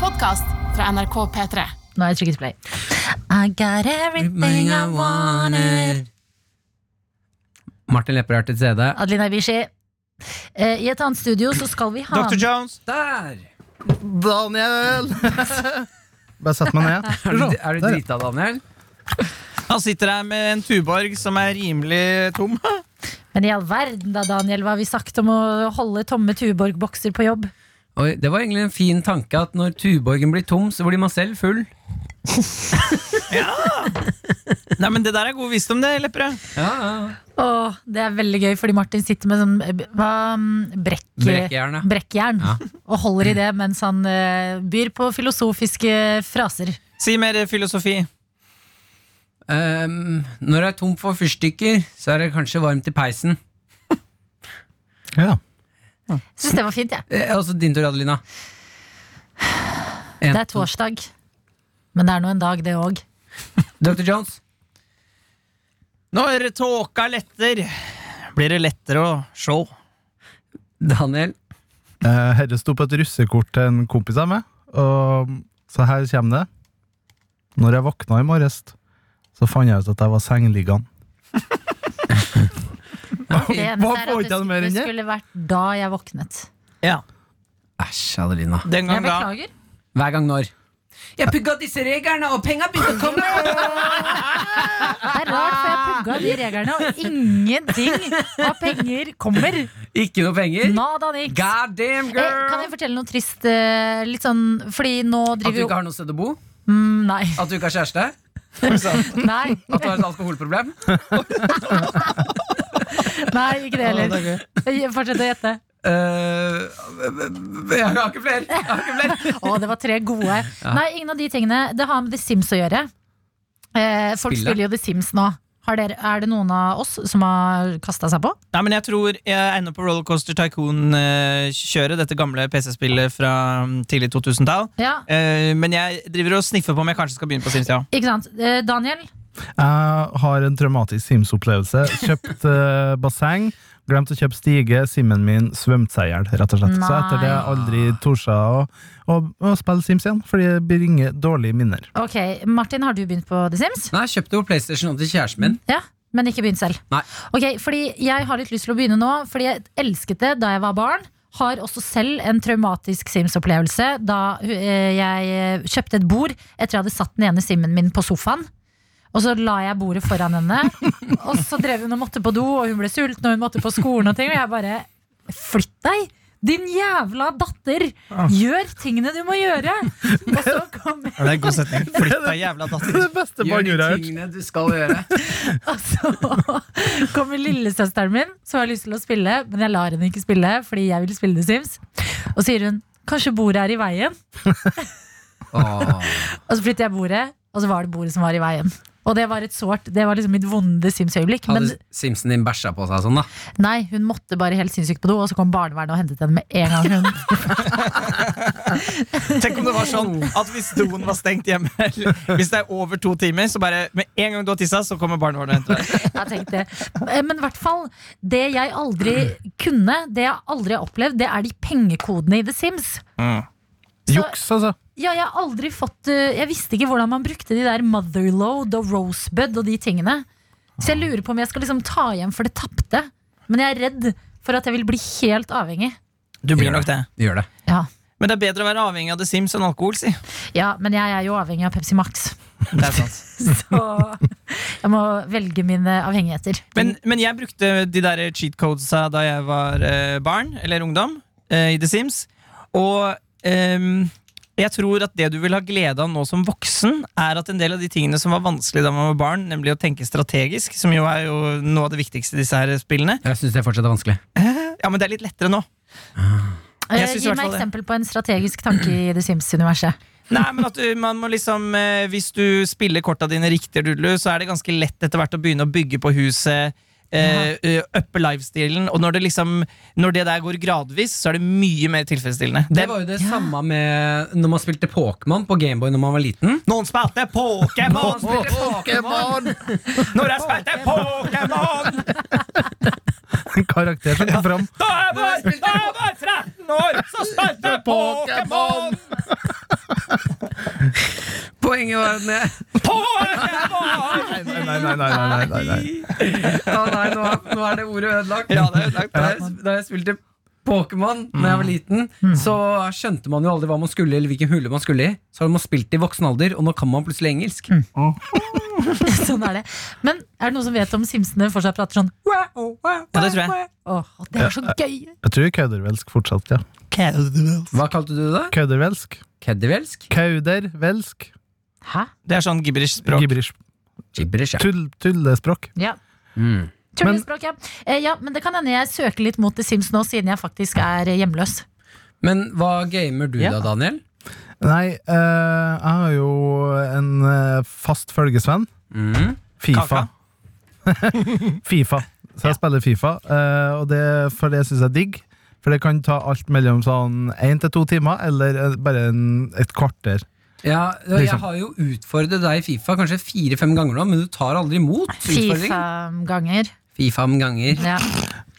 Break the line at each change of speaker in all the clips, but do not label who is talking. podkast fra NRK P3.
Nå har jeg trykket play. I got everything I wanted.
Martin Lepperød til CD.
Adelina Ibishi. Eh, I et annet studio så skal vi ha
Dr. Jones!
Der!
Daniel! Bare sett meg ned.
Er du, er du
Der, ja.
drita, Daniel?
Han sitter her med en tuborg som er rimelig tom.
Men i all verden da, Daniel, hva har vi sagt om å holde tomme Tuborg-bokser på jobb?
Oi, det var egentlig en fin tanke at når Tuborgen blir tom, så blir man selv full.
Nei, men Det der er god visdom, det, Lepperød.
Ja, ja.
Åh, det er veldig gøy, fordi Martin sitter med sånn eh, b- hva, mm, brekk,
Brekkjern, ja.
brekkjern,
Ja.
og holder i det mens han eh, byr på filosofiske fraser.
Si mer filosofi.
Ehm, når det er tomt for fyrstikker, så er det kanskje varmt i peisen.
Ja.
Syns det var fint, jeg.
Eh, altså din tur, Adelina. En,
Det er torsdag. Men det er nå en dag, det òg.
Dr. Jones.
Når tåka letter, blir det lettere å se.
Daniel.
Eh, Dette sto på et russekort til en kompis av meg, og så her kommer det. Når jeg våkna i morges, så fant jeg ut at jeg var sengeliggende.
Det
Hva
eneste er
får
at
ikke han
det,
mer
det
enn det?
skulle vært da jeg våknet.
Ja,
Æsj, Adelina.
den
Jeg
gang da.
beklager.
Hver gang når. Jeg pugga disse reglene, og penga begynte å komme!
Det er rart, for jeg
Ah.
pugga de reglene, og ingenting av penger kommer.
Ikke noe penger.
Nada niks.
God damn,
Eh, Kan jeg
girl!
fortelle noe trist? eh, Litt sånn, fordi nå
At du
driver jo
ikke har noe sted å bo?
mm, Nei.
At du ikke har kjæreste?
Nei,
At du har et alkoholproblem?
nei, ikke det heller. Jeg Fortsett å gjette.
Eh, jeg har ikke flere! Jeg har ikke flere.
Å, det var tre gode. Nei, ingen av de tingene. Det har med The Sims å gjøre. Eh, folk
Spillet.
spiller jo The Sims nå. Har dere, er det noen av oss som har kasta seg på?
Nei, men jeg tror jeg er inne på Rollercoaster Tycoon-kjøret. Dette gamle PC-spillet fra mm, tidlig 2000-tall.
Ja,
Eh, Men jeg driver og sniffer på om jeg kanskje skal begynne på Sims. Ja.
ikke sant? Eh, Daniel?
Jeg har en traumatisk Sims-opplevelse. Kjøpt eh, basseng, glemt å kjøpe stige. Simmen min svømte seg i hjel, rett og slett. Så etter det har jeg aldri torde å, å, å spille Sims igjen, fordi det bringer dårlige minner.
Ok, Martin, har du begynt på The Sims?
Nei, jeg kjøpte jo PlayStation om til kjæresten min.
Ja, men ikke begynt selv.
Nei.
Ok, fordi Jeg har litt lyst til å begynne nå, fordi jeg elsket det da jeg var barn. Har også selv en traumatisk Sims-opplevelse da eh, jeg kjøpte et bord etter jeg hadde satt den ene Simmen min på sofaen. Og så la jeg bordet foran henne, og så drev hun og måtte på do, og hun ble sulten, og hun måtte på skolen og ting, og jeg bare Flytt deg! Din jævla datter! Gjør tingene du må gjøre! Og så kom jeg,
Det er en god setning. Flytt deg, jævla datter.
Det beste
Gjør de tingene du skal gjøre.
Og så kommer lillesøsteren min, som har lyst til å spille, men jeg lar henne ikke spille fordi jeg vil spille The Sims. Og så sier hun 'kanskje bordet er i veien',
Åh.
og så flytter jeg bordet, og så var det bordet som var i veien. Og det var et sårt, det var liksom mitt vonde Sims-øyeblikk. Men
Hadde Simpson din bæsja på seg sånn, da?
nei, hun måtte bare helt sinnssykt på do, og så kom barnevernet og hentet henne med en gang. hun
Tenk om det var sånn at hvis doen var stengt hjemme, eller hvis det er over to timer, så bare med en gang du har tissa, så kommer barnevernet og henter deg.
Jeg tenkte Eh, Men i hvert fall, det jeg aldri kunne, det jeg aldri har opplevd, det er de pengekodene i The Sims.
Mm.
Juks, altså.
Ja, jeg har aldri fått eh, Jeg visste ikke hvordan man brukte de der motherload og rosebud og de tingene. Så jeg lurer på om jeg skal liksom ta igjen for det tapte. Men jeg er redd for at jeg vil bli helt avhengig.
Du blir nok det.
Du gjør det.
Ja,
Men det er bedre å være avhengig av The Sims enn alkohol, si.
ja men jeg er jo avhengig av Pepsi Max.
Det er sant.
Så jeg må velge mine avhengigheter.
Men, men jeg brukte de der cheat codesa da jeg var eh, barn, eller ungdom, eh, i The Sims. Og ehm, jeg tror at det du vil ha glede av nå som voksen, er at en del av de tingene som var vanskelig da man var barn, nemlig å tenke strategisk, som jo er jo noe av det viktigste i disse her spillene,
Jeg syns det fortsatt er vanskelig.
ja, men det er litt lettere nå.
Eh,
jeg synes i
Gi
hvert
meg
fall det.
eksempel på en strategisk tanke i The Sims-universet.
Nei, men at du, man må liksom eh, Hvis du spiller korta dine riktig, Rudlu, så er det ganske lett etter hvert å begynne å bygge på huset. eh, eh, Uppe livestilen. Og når det liksom Når det der går gradvis, så er det mye mer tilfredsstillende.
Det var jo det samme med når man spilte Pokémon på Gameboy når man var liten.
Noen spilte Pokémon! Når jeg spilte Pokémon!
En karakter som kom fram.
Da jeg var, da jeg var 13 år, så spilte jeg Pokémon!
Poenget var at når jeg
Nei, nei, nei, nei, nei, nei, nei, nei.
Ja, nei, nå er, nå er det ordet ødelagt.
Ja, det er ødelagt.
Da jeg, da jeg spilte Pokémon da jeg var liten, så skjønte man jo aldri hva man skulle, eller hvilken hule man skulle i. Så har man spilt i voksen alder, og nå kan man plutselig engelsk.
sånn er det. Men er det noen som vet om simsene fortsatt prater sånn?
Ja, det tror jeg.
Åh, det er så gøy!
Jeg tror kaudervelsk fortsatt, ja.
Hva kalte du det? da?
Kaudervelsk?
Keddivelsk?
Kaudervelsk?
Hæ?
Det er sånn gibberish-språk.
Gibberish.
Gibberish, ja.
Tull, tullespråk.
Ja.
Mm.
Tullespråk, ja. Eh, ja. Men det kan hende jeg søker litt mot The Sims nå, siden jeg faktisk er eh, hjemløs.
Men hva gamer du
Ja.
da, Daniel?
Nei, eh, jeg har jo en eh, fast følgesvenn.
Mm.
Fifa. Fifa. Så jeg spiller Fifa, eh, og det, for det syns jeg er digg. For det kan ta alt mellom sånn én til to timer, eller eh, bare en, et kvarter.
Ja, ja, jeg
Liksom.
har jo utfordret deg i Fifa kanskje fire-fem ganger nå, men du tar aldri imot utfordringen.
Fifa-ganger.
Fifa-fem ganger.
Ja.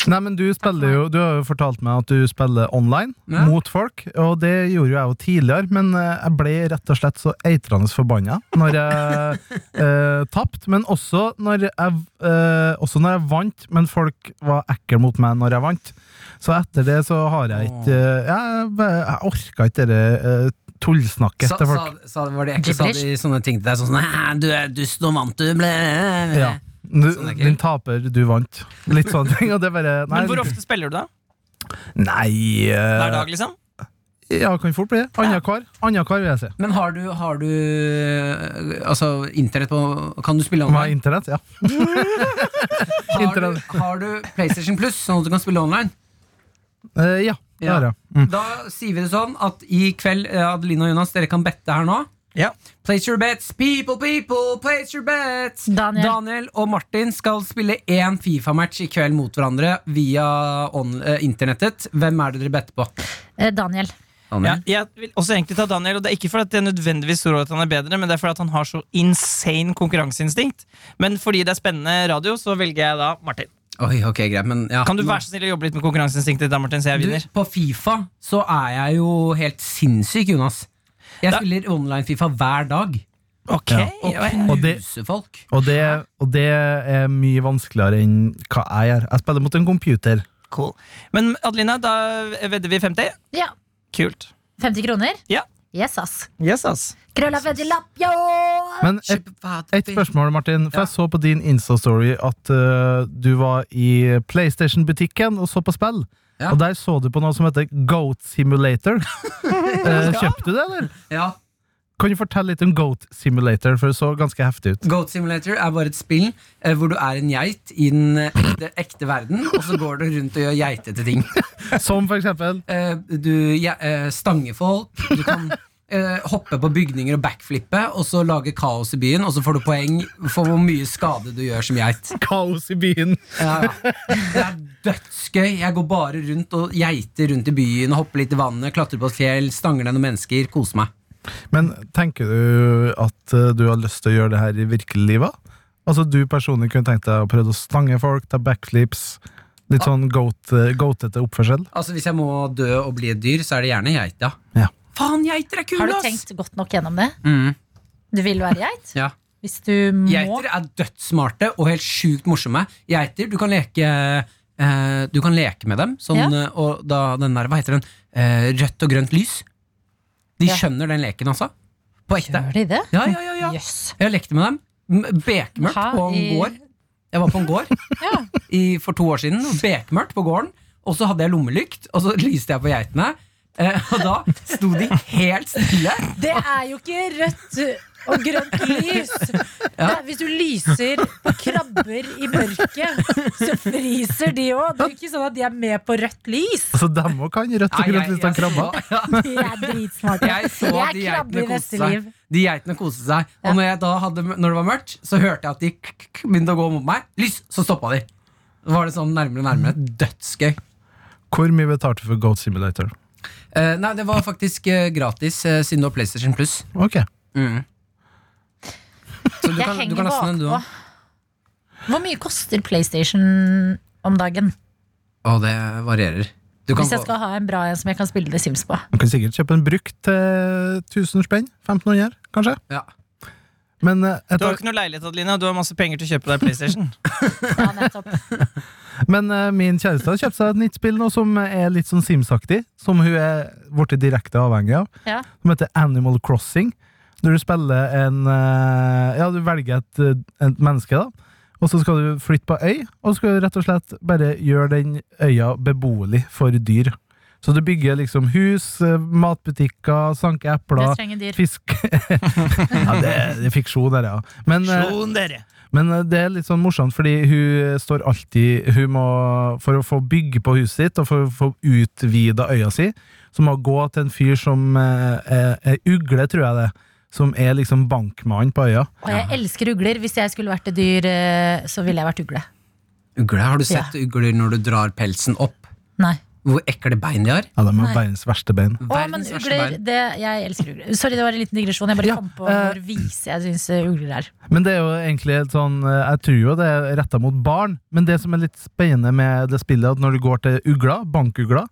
Nei, men du spiller jo Du har jo fortalt meg at du spiller online
Ja.
mot folk, og det gjorde jo jeg jo tidligere, men eh, jeg ble rett og slett så eitrende forbanna når jeg eh, tapte, men også når jeg, eh, også når jeg vant, men folk var ekle mot meg når jeg vant. Så etter det så har jeg ikke eh, Jeg, jeg orka ikke det eh, tullsnakket
Sa,
til
sa,
folk.
sa, var det ikke sa de
Gibberish.
sånne ting til deg? Sånn sånn «Hæ, 'Du er dust, nå vant du', ble
Ja. Du,
Sånn er ikke-
din taper, du vant. Litt sånne ting. Og det er bare nei,
Men hvor ofte spiller du, da?
Nei eh,
Hver dag, liksom?
Ja, kan fort bli det. Annakvar, annakvar vil jeg si.
Men har du, har du øh, Altså, internett på Kan du spille
Om jeg har
online?
internett, ja.
Har du,
internett.
har du PlayStation Plus, sånn at du kan spille online?
Eh, ja, det
Ja.
har jeg. Mm.
Da sier vi det sånn at i kveld, eh, Adeline og Jonas, dere kan bette her nå.
Ja.
Place your bets, people, people, place your bets!
Daniel.
og Martin skal spille én Fifa-match i kveld mot hverandre via on, eh, internettet. Hvem er det dere better på?
Eh, Daniel.
Ja,
Daniel?
jeg vil også egentlig ta Daniel, og det er ikke fordi jeg nødvendigvis tror at han er bedre, men det er fordi at han har så insane konkurranseinstinkt. Men fordi det er spennende radio, så velger jeg da Martin.
Oi, ok, greit, men ja.
Kan du
Nå-
være så snill å jobbe litt med konkurranseinstinktet, da, Martin, så jeg
Du,
vinner?
på Fifa så er jeg jo helt sinnssyk, Jonas. Jeg
Da-
spiller online-Fifa hver dag.
Ok,
Og
ja. vel.
Og det-
knuser folk.
Og, det, og det er mye vanskeligere enn hva jeg gjør. Jeg spiller mot en computer.
cool. Men Adelina, da vedder vi 50.
Ja.
Kult.
50 kroner?
Ja.
Yes, ass.
Yes, ass.
Krølla fødte lapp, yo!
Men et, et spørsmål, Martin. For
Ah, Ja.
jeg så på din Insta-story at eh, du var i PlayStation-butikken og så på spill.
Ja.
Og der så du på noe som heter Goat Simulator. Eh, kjøpte du det, eller?
Ja,
Kan du fortelle litt om Goat Simulator, for det så ganske heftig ut.
Goat Simulator er bare et spill eh, hvor du er en geit i den eh, ekte, ekte verden, og så går du rundt og gjør geitete ting.
Som for eksempel
Eh, du ja, eh, stanger folk, du kan eh, hoppe på bygninger og backflippe, og så lage kaos i byen, og så får du poeng for hvor mye skade du gjør som geit.
kaos i byen.
Ja, ja. Det er dødsgøy. Jeg går bare rundt og geiter rundt i byen og hopper litt i vannet, klatrer på et fjell, stanger ned noen mennesker, koser meg.
Men tenker du at eh, du har lyst til å gjøre det her i virkelig livet? Altså du personlig kunne tenkt deg å prøve å stange folk, ta backflips, litt sånn goat- eh, goatete oppførsel?
Altså Hvis jeg må dø og bli et dyr, så er det gjerne geit, ja.
Ja.
Faen, geiter er
Har
kule,
du
ass!
tenkt godt nok gjennom det?
Mm,
Du vil være geit?
ja.
Hvis du må.
Geiter er dødssmarte og helt sjukt morsomme. Geiter, du kan leke eh, Du kan leke med dem, sånn,
Ja.
eh, og da den der, hva heter den, eh, rødt og grønt lys. De
Ja.
skjønner den leken, altså. På ekte.
Gjør de det?
Ja, ja, ja, ja.
Jøss.
Jeg lekte med dem. M- Bekmørkt
Ha,
på en
i-
gård. Jeg var på en gård
Ja.
i, for to år siden. og Bekmørkt på gården. Og så hadde jeg lommelykt, og så lyste jeg på geitene. Eh, og da sto de helt stille.
Det er jo ikke rødt og grønt lys. Det er, hvis du lyser på krabber i mørket, så friser de òg. Det er jo ikke sånn at de er med på rødt lys.
Altså dem òg kan rødt og sånn
Nei,
grønt hvis de krabber.
Ja,
De er dritsmarte.
jeg så
Jeg er
de
krabbe
geitene
i neste
kose seg.
liv.
De geitene koste seg. Og når, jeg da hadde, når det var mørkt, så hørte jeg at de k- k- k- begynte å gå mot meg. Lys! Så stoppa de. Da var det sånn nærmere og nærmere. Dødsgøy.
Hvor mye betalte du for Goat Simulator?
Eh, nei, det var faktisk eh, gratis, eh, siden du har PlayStation Pluss.
Ok,
Så du
Jeg
kan, du
henger
kan laste den, du
bakpå.
òg.
Hvor mye koster PlayStation om dagen?
Og det varierer. Du kan
Hvis jeg
gå-
skal ha en bra en som jeg kan spille The Sims på.
Man kan sikkert kjøpe en brukt til 1000 spenn. 1500, kanskje.
Ja.
Men eh, et,
Du har jo ikke noe leilighet, Adelina. Du har masse penger til å kjøpe deg PlayStation.
Ja, nettopp.
Men eh, min kjæreste har kjøpt seg et nytt spill nå som er litt sånn Sims-aktig. Som hun er blitt direkte avhengig av.
Ja.
Som heter Animal Crossing. Der du spiller en eh, Ja, du velger et, eh, et menneske, da. Og så skal du flytte på øy, og så skal du rett og slett bare gjøre den øya beboelig for dyr. Så du bygger liksom hus, eh, matbutikker, sanke
Jeg
epler,
trenger dyr.
fisk Ja, det er, det er fiksjon, det der, ja. Men, eh,
Sjon dere!
men eh, det er litt sånn morsomt, fordi hun står alltid hun må, For å få bygge på huset sitt og for å få utvida øya si, så må hun gå til en fyr som eh, er, er ugle, tror jeg det. Som er liksom bankmann på øya.
Og jeg elsker ugler. Hvis jeg skulle vært et dyr, eh, så ville jeg vært ugle.
Ugle, Har du sett ugler når du drar pelsen opp?
Nei.
Hvor ekle bein de har?
Ja, de
Nei.
har verdens verste bein.
Å, men
Verdens verste
ugler,
bein.
det, jeg elsker ugler. Sorry, det var en liten digresjon. Jeg bare
Ja,
kom på
eh,
hvor vise jeg syns ugler er.
Men det er jo egentlig et sånn eh, Jeg tror jo det er retta mot barn, men det som er litt spennende med det spillet, er at når du går til ugla, bankugla,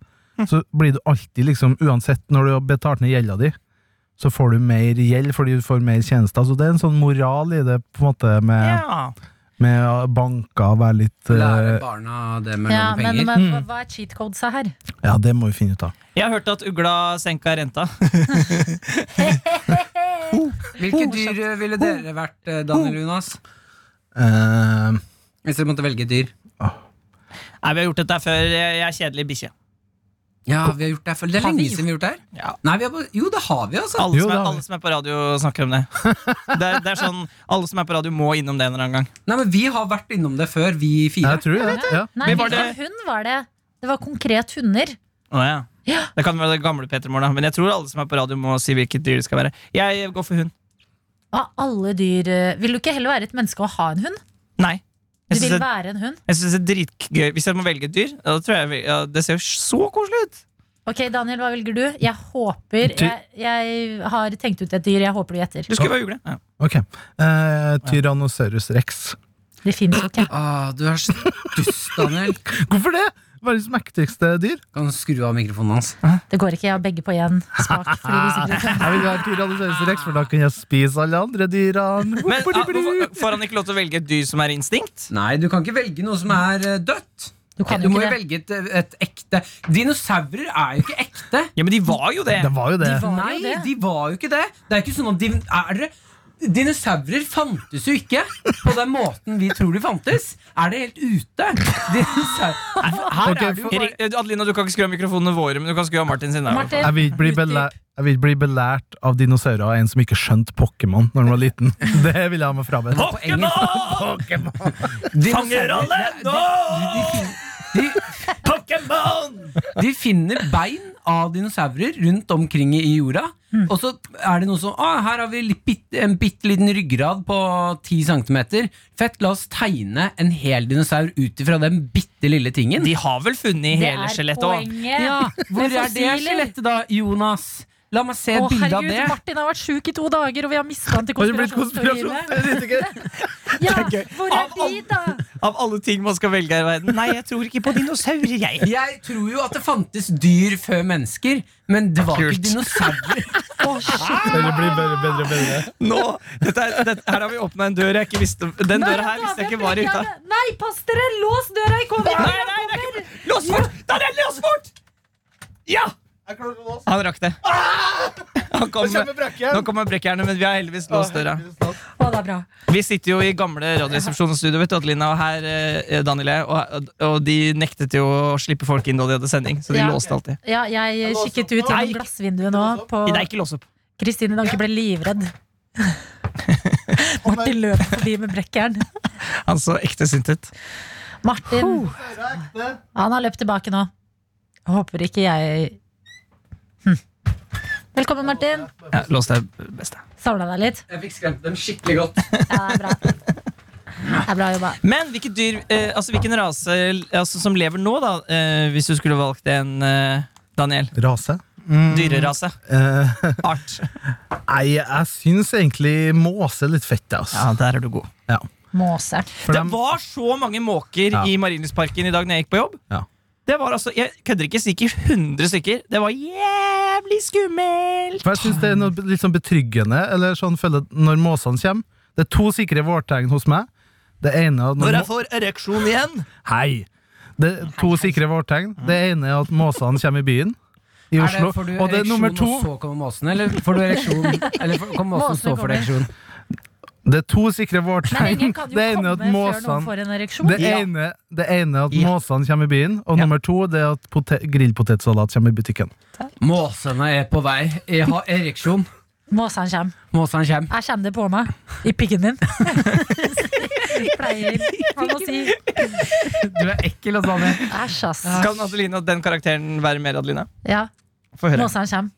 så blir du alltid liksom Uansett, når du har betalt ned gjelda di, så får du mer gjeld fordi du får mer tjenester. Så det er en sånn moral i det, på en måte, med,
Ja.
med å banke og være litt
Lære
eh,
barna det med
Ja,
låne
men,
penger.
men hva- hva er cheat codesa her?
Ja, det må vi finne ut av.
Jeg hørte at ugla senka renta.
Hvilke dyr eh, ville dere vært, eh, Daniel Jonas?
Eh,
Hvis dere måtte velge et dyr?
Nei, Vi har gjort dette før. Jeg er kjedelig bikkje.
Ja, vi har gjort det her før. Det er
Har vi
lenge siden vi har gjort det her.
Ja.
Nei, vi har bare, jo, det har vi, altså.
Alle,
Jo,
som er,
det har vi.
alle som er på radio, snakker om det. Det er, det er sånn, Alle som er på radio, må innom det en eller annen gang.
Nei, men Vi har vært innom det før, vi fire.
jeg tror det. Ja.
Nei,
Men var
hvilken
det-
hund var det? Det var konkret hunder.
Å, ja.
Ja.
Det kan være det gamle Peter Mål, da. men jeg tror alle som er på radio, må si hvilket dyr det skal være. Jeg går for hund.
Av alle dyr eh, Vil du ikke heller være et menneske og ha en hund?
Nei.
Du
Jeg
vil
syns det,
være en hund?
jeg synes det er dritgøy Hvis jeg må velge et dyr, ja, da tror jeg, jeg vil- ja, det ser jo så koselig ut!
Ok, Daniel, hva velger du? Jeg håper
Du-
jeg, jeg har tenkt ut et dyr. Jeg håper du gjetter.
Du skulle være ugle. Ja.
Ok. Eh, Tyrannosaurus rex.
Det fins jo ikke.
Ah, du er så dust, Daniel.
Hvorfor det? Verdens mektigste dyr.
Kan du skru av mikrofonen hans?
Det går ikke. Jeg har begge på én smak. Fordi vi sitter i samme-
Jeg vil være Tyrannosaurus rex, for da kan jeg spise alle andre dyrene.
Men ah, ja, hvorfor- Får han ikke lov til å velge et dyr som er instinkt?
Nei, du kan ikke velge noe som er eh, dødt.
Du kan
Du
jo
må
ikke
jo
det.
velge et, et ekte Dinosaurer er jo ikke ekte.
Ja, men de var jo det!
Det var jo det.
De var jo
Nei,
det.
de var jo ikke det. Det er ikke sånn at din, er det, Dinosaurer fantes jo ikke på den måten vi tror de fantes. Er det helt ute? Dinosau- Her
Ok,
er det jo bare
Erik, Adelina, du kan ikke skru av mikrofonene våre, men du kan skru av Martin sin. Der, i hvert fall.
Martin,
Jeg vil ikke bli,
utdyp.
belær, jeg vil ikke bli belært av dinosaurer av en som ikke skjønte Pokémon når han var liten. Det vil jeg ha meg frabedt.
på engelsk.
Pokémon!
Dinosaurer- De, fin- de,
Pokémon!
de finner bein av dinosaurer rundt omkring i jorda.
Mm.
Og så er det noe som ah, Her har vi litt bitt- en bitte liten ryggrad på 10 cm. Fett, la oss tegne en hel dinosaur ut ifra den bitte lille tingen.
De har vel funnet
Det
hele
er
skjelettet òg.
poenget.
Ja, hvor
Det
er det
fossiler.
skjelettet da, Jonas? La meg se et
Å,
bilde av
herregud,
det.
Martin har vært sjuk i to dager, og vi har mista han til
Har det blitt
konspirasjonsteoriene.
konspirasjon?
Ja, hvor er
Av
de, da?
Av alle ting man skal velge her i verden. Nei, jeg tror ikke på dinosaurer, jeg.
Jeg tror jo at det fantes dyr før mennesker, men det var
Kult.
ikke dinosaurer.
Det blir bedre, bedre, bedre.
Nå, dette er, dette, her har vi åpna en dør jeg ikke visste Den døra her visste jeg ikke var i uta.
Nei, pass dere! Lås døra i kommer!
Nei, nei, det er ikke Lås fort! Der er det lås fort! Ja! Han rakk det. Han kom med, nå kommer brekkjernet, men vi har heldigvis låst døra.
Å, det er bra.
Vi sitter jo i gamle Radioresepsjonsstudio, vet du, Adelina, og her, eh, Daniel, og jeg, og, og de nektet jo å slippe folk inn da de hadde sending, så de
Ja.
låste alltid.
Ja, jeg kikket ut
Nei.
gjennom glassvinduet nå på
Det er ikke lås opp.
Kristine Danke ble livredd. Martin løp forbi med brekkjern.
Han så ekte sint ut.
Martin Han har løpt tilbake nå. Håper ikke jeg Hm. Velkommen, Martin.
Ja, lås det beste.
Savna deg litt.
Jeg fikk skremt dem skikkelig godt.
Ja, det er bra. Det er bra jobba.
Men hvilket dyr, eh, altså hvilken rase altså, som lever nå, da, eh, hvis du skulle valgt en, eh, Daniel?
Rase?
Mm. Dyrerase.
Eh,
Art.
nei, jeg syns egentlig måse er litt fett, altså.
Ja, der er du god.
Ja.
Måse.
For
det
dem-
var så mange måker
Ja.
i Marienlystparken i dag når jeg gikk på jobb.
Ja.
Det var altså, Jeg kødder ikke, sikkert 100 stykker. Det var jævlig skummelt!
For jeg synes det er noe litt sånn betryggende Eller sånn føler jeg når måsene kommer Det er to sikre vårtegn hos meg Det ene er at når må-
får ereksjon igjen
Hei! Det er to sikre vårtegn Det ene er at måsene kommer i byen I
Er det,
Oslo
får du
Og det er nummer
ereksjon,
to
og så kommer måsen? Eller får du ereksjon Eller får- kommer måsen stå for
Måsene
ereksjon?
Det er to sikre
Men
vårtegn
ingen kan jo
Det ene
komme
er at
før noen
måsene
får en ereksjon.
det
Ja.
ene, det ene er at
Ja.
måsene kommer i byen Og
Ja.
nummer to det er at pote- grillpotetsalat kommer i butikken
Måsene er på vei. Jeg har ereksjon.
Måsene kommer.
Måsene kommer.
Her kommer det på meg. I pikken din. Pleier man å si.
Du er ekkel og sånn.
Æsj, ass.
Kan Adelina den karakteren være mer, Adelina?
Ja,
Få høre.
Måsene kommer.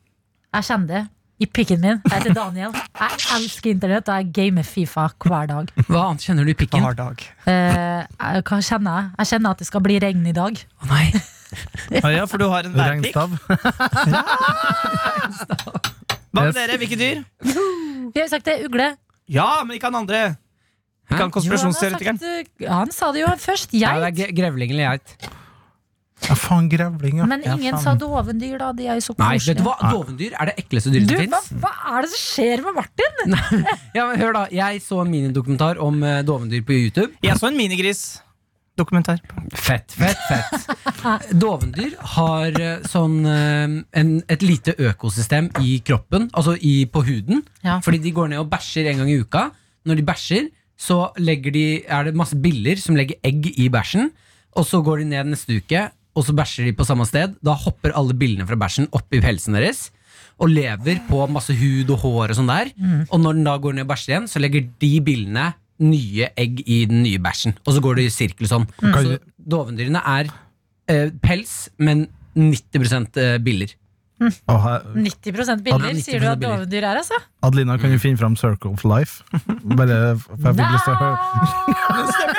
Jeg kjenner det. I pikken min. Jeg heter Daniel. Jeg elsker internett, og jeg gamer Fifa hver dag.
Hva annet kjenner du i pikken? Å
Hverdag.
Eh, jeg- hva kjenner jeg? Jeg kjenner at det skal bli regn i dag.
nei.
Ah, ja, for du har en værpikk.
Regnstav
Hva med
Yes.
dere? Hvilke dyr?
Vi har jo sagt det. Ugle.
Ja, men ikke han andre.
Jo,
Ikke han
han, har
konspirasjonsteoretikeren.
sagt, uh, han sa det jo først.
Ja,
Geit.
det er ge- grevling eller geit.
Ja faen grevling ja.
Men
Ja,
ingen
faen.
sa dovendyr, da. De er jo så
Nei, vet du
koselige.
hva? Dovendyr er det ekleste dyret
Du,
som
hva,
fins.
hva er det som skjer med Martin?
Ja, men hør da, jeg så en minidokumentar om eh, dovendyr på YouTube.
Jeg så en minigris. Dokumentar.
Fett, fett, fett. Dovendyr har eh, sånn eh, en, et lite økosystem i kroppen, altså i, på huden.
Ja.
Fordi de går ned og bæsjer en gang i uka. Når de bæsjer, så legger de, er det masse biller som legger egg i bæsjen. Og så går de ned neste uke, og så bæsjer de på samme sted. Da hopper alle billene fra bæsjen opp i pelsen deres. Og lever på masse hud og hår og sånn der. Og når den da går ned og bæsjer igjen, så legger de billene nye egg i den nye bæsjen. Og så går det i sirkel sånn. Så dovendyrene er eh, pels, men 90 eh, biller.
Å, her-
Mm. 90
Ja,
biller,
90%
sier du at
biller.
dovendyr er, altså?
Adelina, kan du finne fram Circle of Life? Bare for jeg fikk lyst til å høre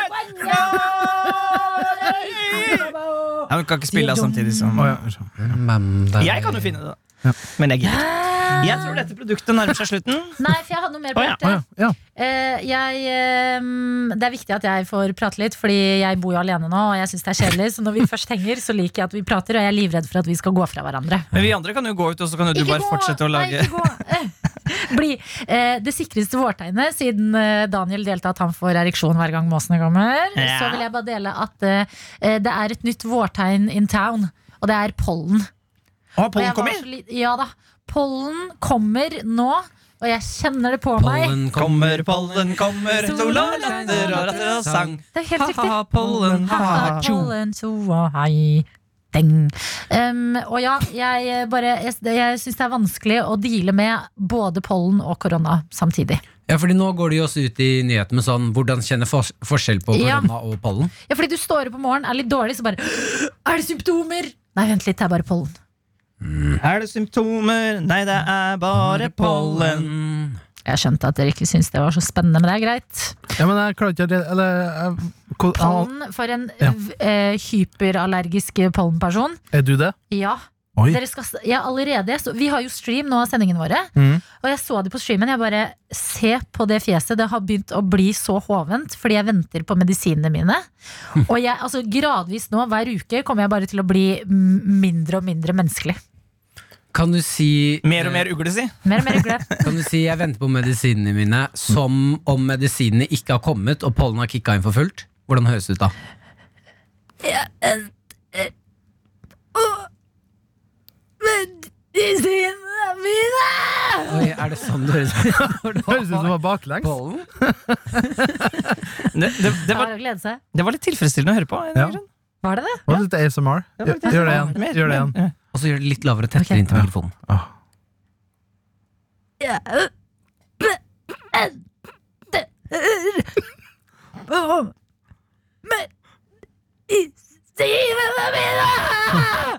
Ja, men kan ikke spille det samtidig som
Å, ja.
Jeg kan jo finne det, da. Men jeg gidder ikke. Jeg tror dette produktet nærmer seg slutten.
Nei, for jeg hadde noe mer på
Å, ja.
hjertet.
Å, ja.
Eh, jeg, ehm, det er viktig at jeg får prate litt, Fordi jeg bor jo alene nå, og jeg syns det er kjedelig. Så når vi først henger, så liker jeg at vi prater, og jeg er livredd for at vi skal gå fra hverandre.
Men vi andre kan jo gå ut, og så kan jo du bare fortsette å lage
Nei, ikke gå! Eh, Bli. Eh, det sikreste vårtegnet, siden eh, Daniel delte at han får ereksjon hver gang måsene kommer,
Ja.
så vil jeg bare dele at eh, eh, det er et nytt vårtegn in town, og det er pollen. Og
Å,
jeg
pollen
var
kommer!
så li- Ja da. Pollen kommer nå, og jeg kjenner det på meg.
Pollen
Kommer, pollen kommer, sola latter og ratter og sang.
Det er helt riktig.
Ha-ha, pollen, ha-ha.
Ha-ha, pollen, tjo og hei. Deng. Um, og ja, jeg, eh, bare, jeg, jeg syns det er vanskelig å deale med både pollen og korona samtidig.
Ja, fordi nå går det jo også ut i nyhetene med sånn Hvordan kjenner fors forskjell på
Ja.
korona og pollen?
Ja, fordi du står opp om morgenen, er litt dårlig, så bare Er det symptomer? Nei, vent litt, det er bare pollen.
Er det symptomer? Nei, det er bare pollen.
Jeg skjønte at dere ikke syntes det var så spennende, men det er greit.
ja, men jeg klarer ikke å re- Eller jeg, ko- ah,
Pollen for en
Ja.
v- eh, hyperallergisk pollenperson.
Er du det?
Ja.
Oi.
Dere skal, s- ja, allerede, så, vi har jo stream nå av sendingene våre.
Mm.
Mhm.
Og jeg så det på streamen. Jeg bare Se på det fjeset. Det har begynt å bli så hovent fordi jeg venter på medisinene mine. Og jeg, altså gradvis nå, hver uke, kommer jeg bare til å bli m- mindre og mindre menneskelig.
Kan du si
Mer og mer ugle, si.
Mer og mer ugle.
Kan du si jeg venter på medisinene mine som om medisinene ikke har kommet og pollen har kicka inn for fullt? Hvordan høres det ut da?
Medisinene mine!
Oi, er det sånn det høres ut?
Høres ut som det var baklengs.
Pollen?
Det, det, det, var,
Bare å glede seg.
det var litt tilfredsstillende å høre på. av en
Ja.
eller annen grunn.
Var det det?
Hva er dette ASMR?
Det var litt
Gjør gjør det
tilfredsstillende.
igjen.
Mer,
Gjør det igjen.
mer, ja.
Og så gjør det litt lavere og tettere
Ok.
inntil mikrofonen.
Åh.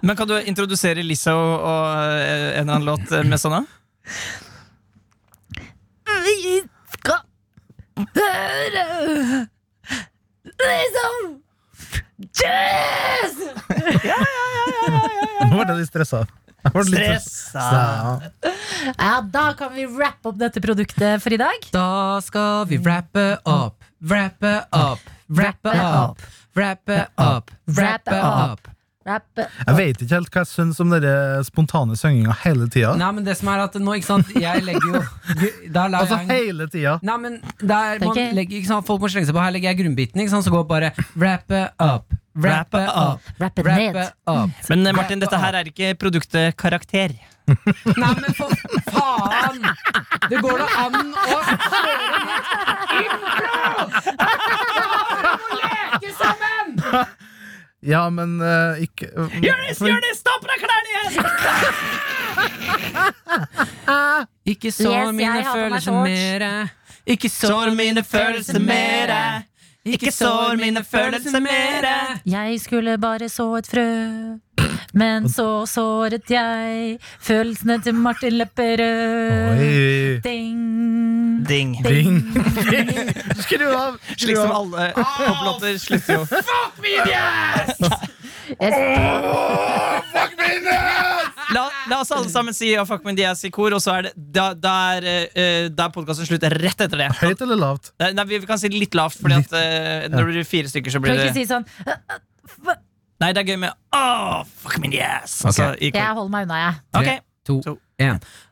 Men kan du introdusere Lizzo og eh, en eller annen låt eh, med sånne?
Vi skal høre liksom Jazz!
Nå ble jeg litt stressa. Jeg ble litt stressa.
Ja, da kan vi rappe opp dette produktet for i dag.
Da skal vi wrappe opp, wrappe opp, wrappe opp, wrappe opp, wrappe opp,
Rap.
Jeg vet ikke helt hva jeg syns om den spontane synginga hele tida.
Nei, men det som er at nå, ikke sant Jeg legger jo Da lar
Altså
jeg en-
hele tida!
Nei, men der,
er
man
ikke-
legger, ikke sant, Folk må slenge seg på. Her legger jeg grunnbiten, ikke sant, så går bare wrap it up. Wrap it up.
Wrap it
Wrap
ned.
it up.
Men eh, Martin, dette her er ikke produktet karakter.
Nei, men for faen! Det går da an å kjøre litt impro! Faen, vi må leke sammen!
Ja, men eh, ikke
Jonis, Jonis, ta på deg klærne igjen!
Ikke sår
Yes, jeg
mine
har på meg
følelser
shorts.
mere. Ikke
Sår mine følelser mere. Ikke sår mine følelser mere.
Jeg skulle bare så et frø, men så såret jeg følelsene til Martin Lepperød.
Oi!
Ding.
Ding.
Ding! Skru av! Skru
Slik som
av!
alle poplater slutter jo.
Jeg-
La, la oss alle sammen si ja, fuck, men de er i kor, og så er det Da, da er, eh, da er podkasten slutt rett etter det.
Høyt eller lavt?
Nei, nei, vi kan si det litt lavt, Fordi at eh, når det blir fire stykker, så
Kan
blir
ikke
det
si sånn
Nei, det er gøy med Åh, fuck me, yes! Altså, i
Jeg
kor.
holder meg unna, jeg.
Ok.
To,
To.
én.